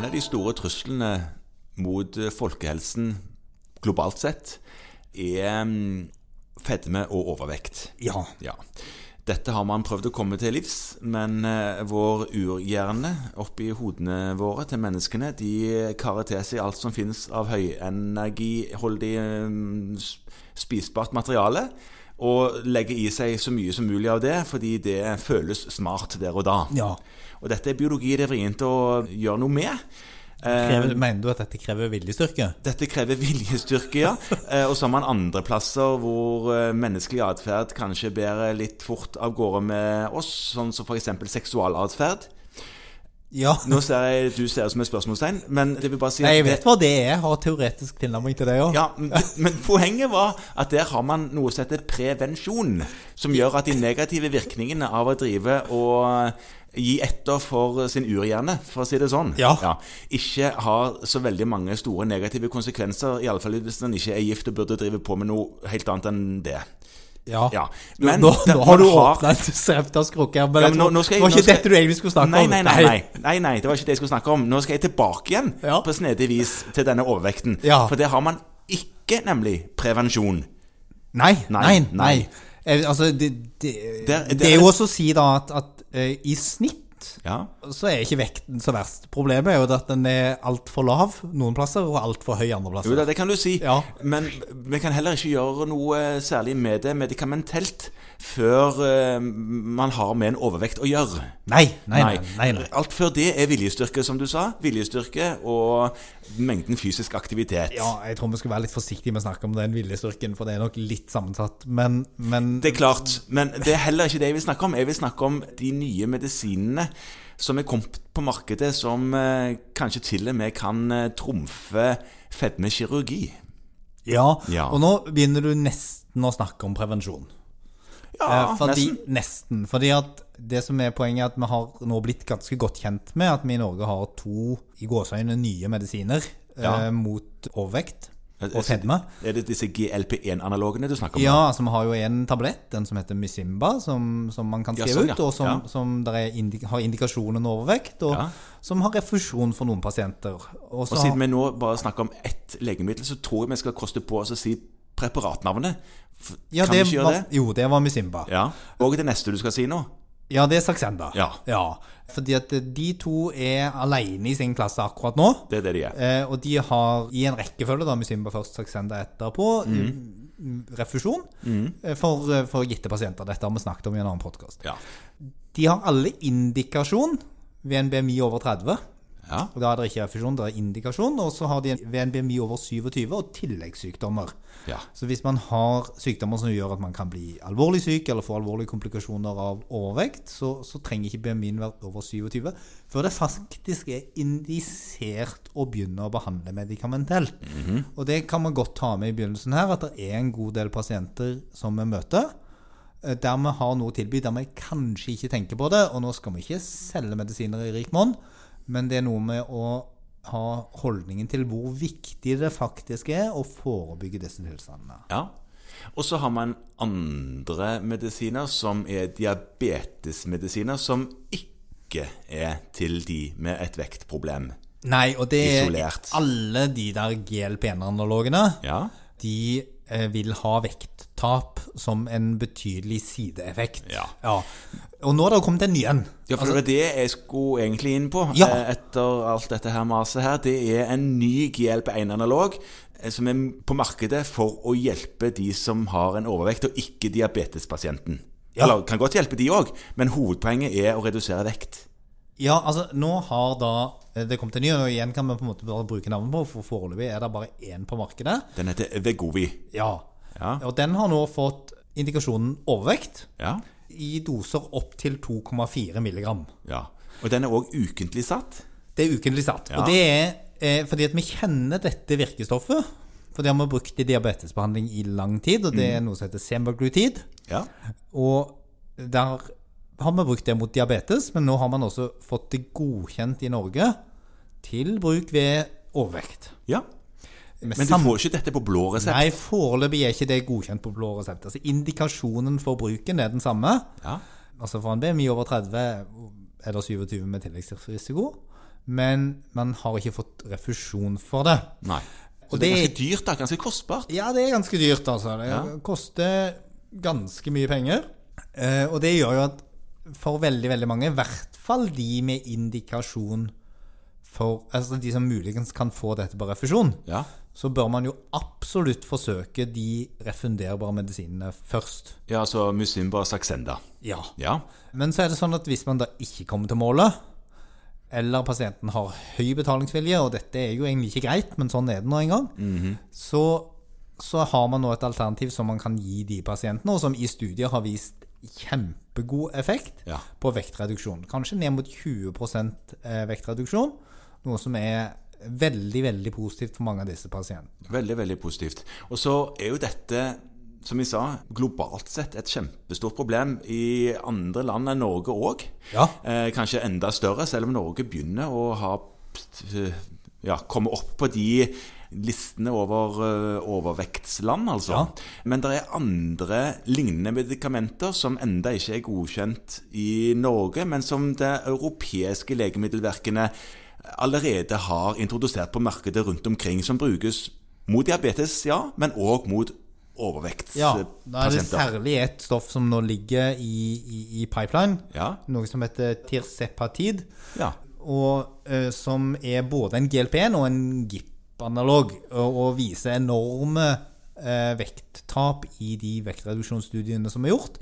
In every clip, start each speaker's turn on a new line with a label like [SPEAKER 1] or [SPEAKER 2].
[SPEAKER 1] er de store truslene mot folkehelsen globalt sett, er mm, fedme og overvekt.
[SPEAKER 2] Ja.
[SPEAKER 1] Ja. Dette har man prøvd å komme til livs, men eh, vår urhjerne oppi hodene våre til menneskene, de karer til seg alt som finnes av høyenergiholdig eh, s- spisbart materiale, og legger i seg så mye som mulig av det, fordi det føles smart der og da.
[SPEAKER 2] ja.
[SPEAKER 1] Og dette er biologi det er vrient å gjøre noe med. Eh,
[SPEAKER 2] Krever, mener du at dette krever viljestyrke?
[SPEAKER 1] dette krever viljestyrke, ja. Eh, Og så har man andre plasser hvor eh, menneskelig atferd kanskje bærer litt fort av gårde med oss, sånn som f.eks. seksualatferd.
[SPEAKER 2] Ja.
[SPEAKER 1] Nå ser jeg du ser det som et spørsmålstegn, men det vil bare si at
[SPEAKER 2] Nei, jeg
[SPEAKER 1] det-
[SPEAKER 2] vet hva det er. Jeg har teoretisk tilnærming til det òg.
[SPEAKER 1] ja, men- men poenget var at der har man noe som heter prevensjon, som gjør at de negative virkningene av å drive og gi etter for sin urhjerne, for å si det sånn,
[SPEAKER 2] Ja.
[SPEAKER 1] ikke har så veldig mange store negative konsekvenser, iallfall hvis den ikke er gift og burde drive på med noe helt annet enn det.
[SPEAKER 2] Ja.
[SPEAKER 1] Ja.
[SPEAKER 2] Men nå,
[SPEAKER 1] den-
[SPEAKER 2] nå har du
[SPEAKER 1] man
[SPEAKER 2] åpna en streptaskrukke. Men,
[SPEAKER 1] Ja,
[SPEAKER 2] jeg
[SPEAKER 1] men
[SPEAKER 2] tror-
[SPEAKER 1] nå- nå skal jeg-
[SPEAKER 2] det var
[SPEAKER 1] nå
[SPEAKER 2] ikke
[SPEAKER 1] skal jeg-
[SPEAKER 2] dette du egentlig skulle snakke
[SPEAKER 1] Nei,
[SPEAKER 2] om.
[SPEAKER 1] nei, nei, nei, nei, nei, det var ikke det jeg skulle snakke om. Nå skal jeg tilbake igjen
[SPEAKER 2] Ja.
[SPEAKER 1] på snedig vis til denne overvekten.
[SPEAKER 2] Ja.
[SPEAKER 1] For der har man ikke nemlig prevensjon.
[SPEAKER 2] Nei,
[SPEAKER 1] Nei,
[SPEAKER 2] nei,
[SPEAKER 1] nei.
[SPEAKER 2] nei. Eh, altså, det, det,
[SPEAKER 1] Der- der-
[SPEAKER 2] det er jo også å si da at, at eh, i snitt
[SPEAKER 1] Ja.
[SPEAKER 2] så er ikke vekten så verst. Problemet er jo at den er altfor lav noen plasser, og altfor høy andre
[SPEAKER 1] Jo
[SPEAKER 2] plasser.
[SPEAKER 1] da, det kan du si,
[SPEAKER 2] Ja.
[SPEAKER 1] men vi kan heller ikke gjøre noe særlig med det medikamentelt før eh, man har med en overvekt å gjøre.
[SPEAKER 2] Nei, nei, nei. nei, nei.
[SPEAKER 1] Alt før det er viljestyrke, som du sa. Viljestyrke og mengden fysisk aktivitet.
[SPEAKER 2] Ja, jeg tror vi skal være litt forsiktige med å snakke om den viljestyrken, for det er nok litt sammensatt. Men, men
[SPEAKER 1] Det er klart, men det er heller ikke det jeg vil snakke om. Jeg vil snakke om de nye medisinene som er kommet på markedet, som eh, kanskje til og med kan eh, trumfe fedmekirurgi.
[SPEAKER 2] ja,
[SPEAKER 1] Ja.
[SPEAKER 2] Og nå begynner du nesten å snakke om prevensjon.
[SPEAKER 1] Ja,
[SPEAKER 2] Eh, fordi,
[SPEAKER 1] nesten.
[SPEAKER 2] nesten. Fordi at det som er poenget, er at vi har nå blitt ganske godt kjent med at vi i Norge har to i gåseøyne nye medisiner
[SPEAKER 1] Ja.
[SPEAKER 2] eh, mot overvekt og
[SPEAKER 1] Altså,
[SPEAKER 2] fedme.
[SPEAKER 1] Er det disse GLP1-analogene du snakker om?
[SPEAKER 2] Ja, altså vi har jo en tablett, den som heter Mysimba, som, som man kan
[SPEAKER 1] Ja,
[SPEAKER 2] skrive
[SPEAKER 1] sånn, ja.
[SPEAKER 2] ut, og som,
[SPEAKER 1] Ja.
[SPEAKER 2] som der er indi har indikasjonen overvekt, og
[SPEAKER 1] Ja.
[SPEAKER 2] som har refusjon for noen pasienter. Og så
[SPEAKER 1] Og
[SPEAKER 2] har-
[SPEAKER 1] siden vi nå bare snakker om ett legemiddel, så tror jeg vi skal koste på oss å si preparatnavnet. F-
[SPEAKER 2] ja,
[SPEAKER 1] kan vi ikke gjøre
[SPEAKER 2] var,
[SPEAKER 1] det?
[SPEAKER 2] Jo, det var Mysimba. Ja.
[SPEAKER 1] Ja. Og det neste du skal si nå?
[SPEAKER 2] det er Saxenda.
[SPEAKER 1] Ja.
[SPEAKER 2] Fordi at eh, de to er alene i sin klasse akkurat nå.
[SPEAKER 1] Det er det de er.
[SPEAKER 2] Eh, og de har i en rekkefølge, da, Mysimba først, Saxenda etterpå, mm. refusjon eh, for, for gitte pasienter. Dette har vi snakket om i en annen podkast.
[SPEAKER 1] Ja.
[SPEAKER 2] De har alle indikasjon ved en BMI over 30.
[SPEAKER 1] ja.
[SPEAKER 2] Og da er det ikke refusjon, det er indikasjon. Og så har de en- ved en BMI over 27 og tilleggssykdommer.
[SPEAKER 1] ja.
[SPEAKER 2] Så hvis man har sykdommer som gjør at man kan bli alvorlig syk eller få alvorlige komplikasjoner av overvekt, så, så trenger ikke BMI-en være over 27 før det faktisk er indisert å begynne å behandle medikamentelt.
[SPEAKER 1] Mhm.
[SPEAKER 2] Og det kan man godt ta med i begynnelsen her, at det er en god del pasienter som vi møter eh, der vi har noe å tilby, der vi kanskje ikke tenker på det. Og nå skal vi ikke selge medisiner i rik monn, men det er noe med å ha holdningen til hvor viktig det faktisk er å forebygge disse tilstandene.
[SPEAKER 1] Ja. Og så har man andre medisiner som er diabetesmedisiner, som ikke er til de med et vektproblem.
[SPEAKER 2] Nei, og det er
[SPEAKER 1] Isolert.
[SPEAKER 2] alle de der GLP-analogene.
[SPEAKER 1] Ja.
[SPEAKER 2] De eh, vil ha vekttap som en betydelig sideeffekt.
[SPEAKER 1] Ja.
[SPEAKER 2] Og nå har det jo kommet en ny en.
[SPEAKER 1] Ja, for det var det jeg skulle egentlig inn på
[SPEAKER 2] Ja.
[SPEAKER 1] eh, etter alt dette her maset her. Det er en ny GLP1-analog eh, som er på markedet for å hjelpe de som har en overvekt, og ikke diabetespasienten.
[SPEAKER 2] Ja.
[SPEAKER 1] Eller kan godt hjelpe de òg, men hovedpoenget er å redusere vekt.
[SPEAKER 2] Ja, altså, nå har da eh, det kommet en ny, og igjen kan vi på en måte bare bruke navnet på, for foreløpig er det bare én på markedet.
[SPEAKER 1] Den heter Vegovi.
[SPEAKER 2] Ja.
[SPEAKER 1] Ja.
[SPEAKER 2] Og den har nå fått indikasjonen overvekt
[SPEAKER 1] Ja.
[SPEAKER 2] i doser opp til 2,4 milligram.
[SPEAKER 1] ja. Og den er òg ukentlig satt.
[SPEAKER 2] Det er ukentlig satt.
[SPEAKER 1] Ja.
[SPEAKER 2] Og det er eh, fordi at vi kjenner dette virkestoffet. For det har vi brukt i diabetesbehandling i lang tid, og det
[SPEAKER 1] Mm.
[SPEAKER 2] er noe som heter semaglutid.
[SPEAKER 1] Ja.
[SPEAKER 2] Og der har vi brukt det mot diabetes, men nå har man også fått det godkjent i Norge til bruk ved overvekt.
[SPEAKER 1] Ja,
[SPEAKER 2] Med
[SPEAKER 1] Men du
[SPEAKER 2] samme-
[SPEAKER 1] får ikke dette på blå resept?
[SPEAKER 2] Nei, foreløpig er ikke det godkjent på blå resept. Altså, indikasjonen for bruken er den samme.
[SPEAKER 1] Ja.
[SPEAKER 2] Altså for en BMI over 30 er det 27 med tilleggsrisiko. men man har ikke fått refusjon for det.
[SPEAKER 1] Nei. Så
[SPEAKER 2] Og
[SPEAKER 1] det er
[SPEAKER 2] det-
[SPEAKER 1] ganske dyrt, da. Ganske kostbart.
[SPEAKER 2] Ja, det er ganske dyrt, altså. Det
[SPEAKER 1] Ja.
[SPEAKER 2] koster ganske mye penger. Eh, og det gjør jo at for veldig, veldig mange, i hvert fall de med indikasjon for Altså de som muligens kan få dette på refusjon,
[SPEAKER 1] Ja.
[SPEAKER 2] så bør man jo absolutt forsøke de refunderbare medisinene først.
[SPEAKER 1] ja, så Musimba og Saxenda.
[SPEAKER 2] Ja.
[SPEAKER 1] Ja.
[SPEAKER 2] Men så er det sånn at hvis man da ikke kommer til målet, eller pasienten har høy betalingsvilje, og dette er jo egentlig ikke greit, men sånn er det nå en gang,
[SPEAKER 1] Mhm.
[SPEAKER 2] så, så har man nå et alternativ som man kan gi de pasientene, og som i studier har vist kjempegod effekt
[SPEAKER 1] Ja.
[SPEAKER 2] på vektreduksjon. Kanskje ned mot 20 eh, vektreduksjon, noe som er veldig, veldig positivt for mange av disse pasientene.
[SPEAKER 1] Veldig, veldig positivt. Og så er jo dette, som vi sa, globalt sett et kjempestort problem i andre land enn Norge òg.
[SPEAKER 2] Ja.
[SPEAKER 1] Eh, kanskje enda større, selv om Norge begynner å ha eh, ja, komme opp på de listene over eh, overvektsland, altså.
[SPEAKER 2] Ja.
[SPEAKER 1] Men det er andre lignende medikamenter som enda ikke er godkjent i Norge, men som det europeiske legemiddelverkene allerede har introdusert på markedet rundt omkring, som brukes mot diabetes, ja, men òg mot
[SPEAKER 2] Ja, da er det
[SPEAKER 1] overvektspasienter.
[SPEAKER 2] særlig et stoff som nå ligger i, i, i pipeline,
[SPEAKER 1] Ja,
[SPEAKER 2] noe som heter tirsepatid,
[SPEAKER 1] ja,
[SPEAKER 2] og eh, som er både en GLP-1 og en GIP-analog, og, og viser enorme eh, vekttap i de vektreduksjonsstudiene som er gjort,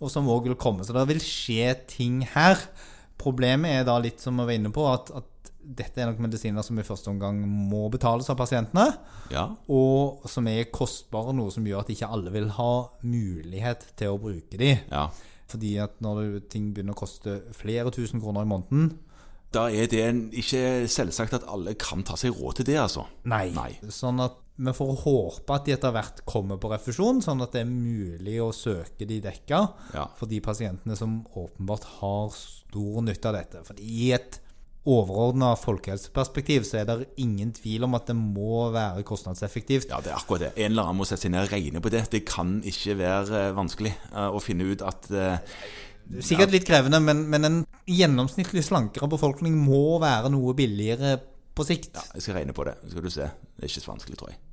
[SPEAKER 2] og som òg vil komme. Så det vil skje ting her. Problemet er da litt som vi var inne på, at, at dette er nok medisiner som i første omgang må betales av pasientene,
[SPEAKER 1] ja.
[SPEAKER 2] og som er kostbare, noe som gjør at ikke alle vil ha mulighet til å bruke de.
[SPEAKER 1] ja.
[SPEAKER 2] Fordi at når det- ting begynner å koste flere tusen kroner i måneden
[SPEAKER 1] Da er det en- ikke selvsagt at alle kan ta seg råd til det, altså.
[SPEAKER 2] Nei. Sånn at vi får håpe at de etter hvert kommer på refusjon, sånn at det er mulig å søke de dekka
[SPEAKER 1] Ja.
[SPEAKER 2] for de pasientene som åpenbart har stor nytte av dette. Fordi i et overordna folkehelseperspektiv så er det ingen tvil om at det må være kostnadseffektivt.
[SPEAKER 1] Ja, det er akkurat det. En eller annen må sette seg ned og regne på det. Det kan ikke være eh, vanskelig eh, å finne ut at eh,
[SPEAKER 2] Sikkert litt krevende, men, men en gjennomsnittlig slankere befolkning må være noe billigere på sikt.
[SPEAKER 1] Jeg skal regne på det, skal du se. Det er ikke så vanskelig, tror jeg.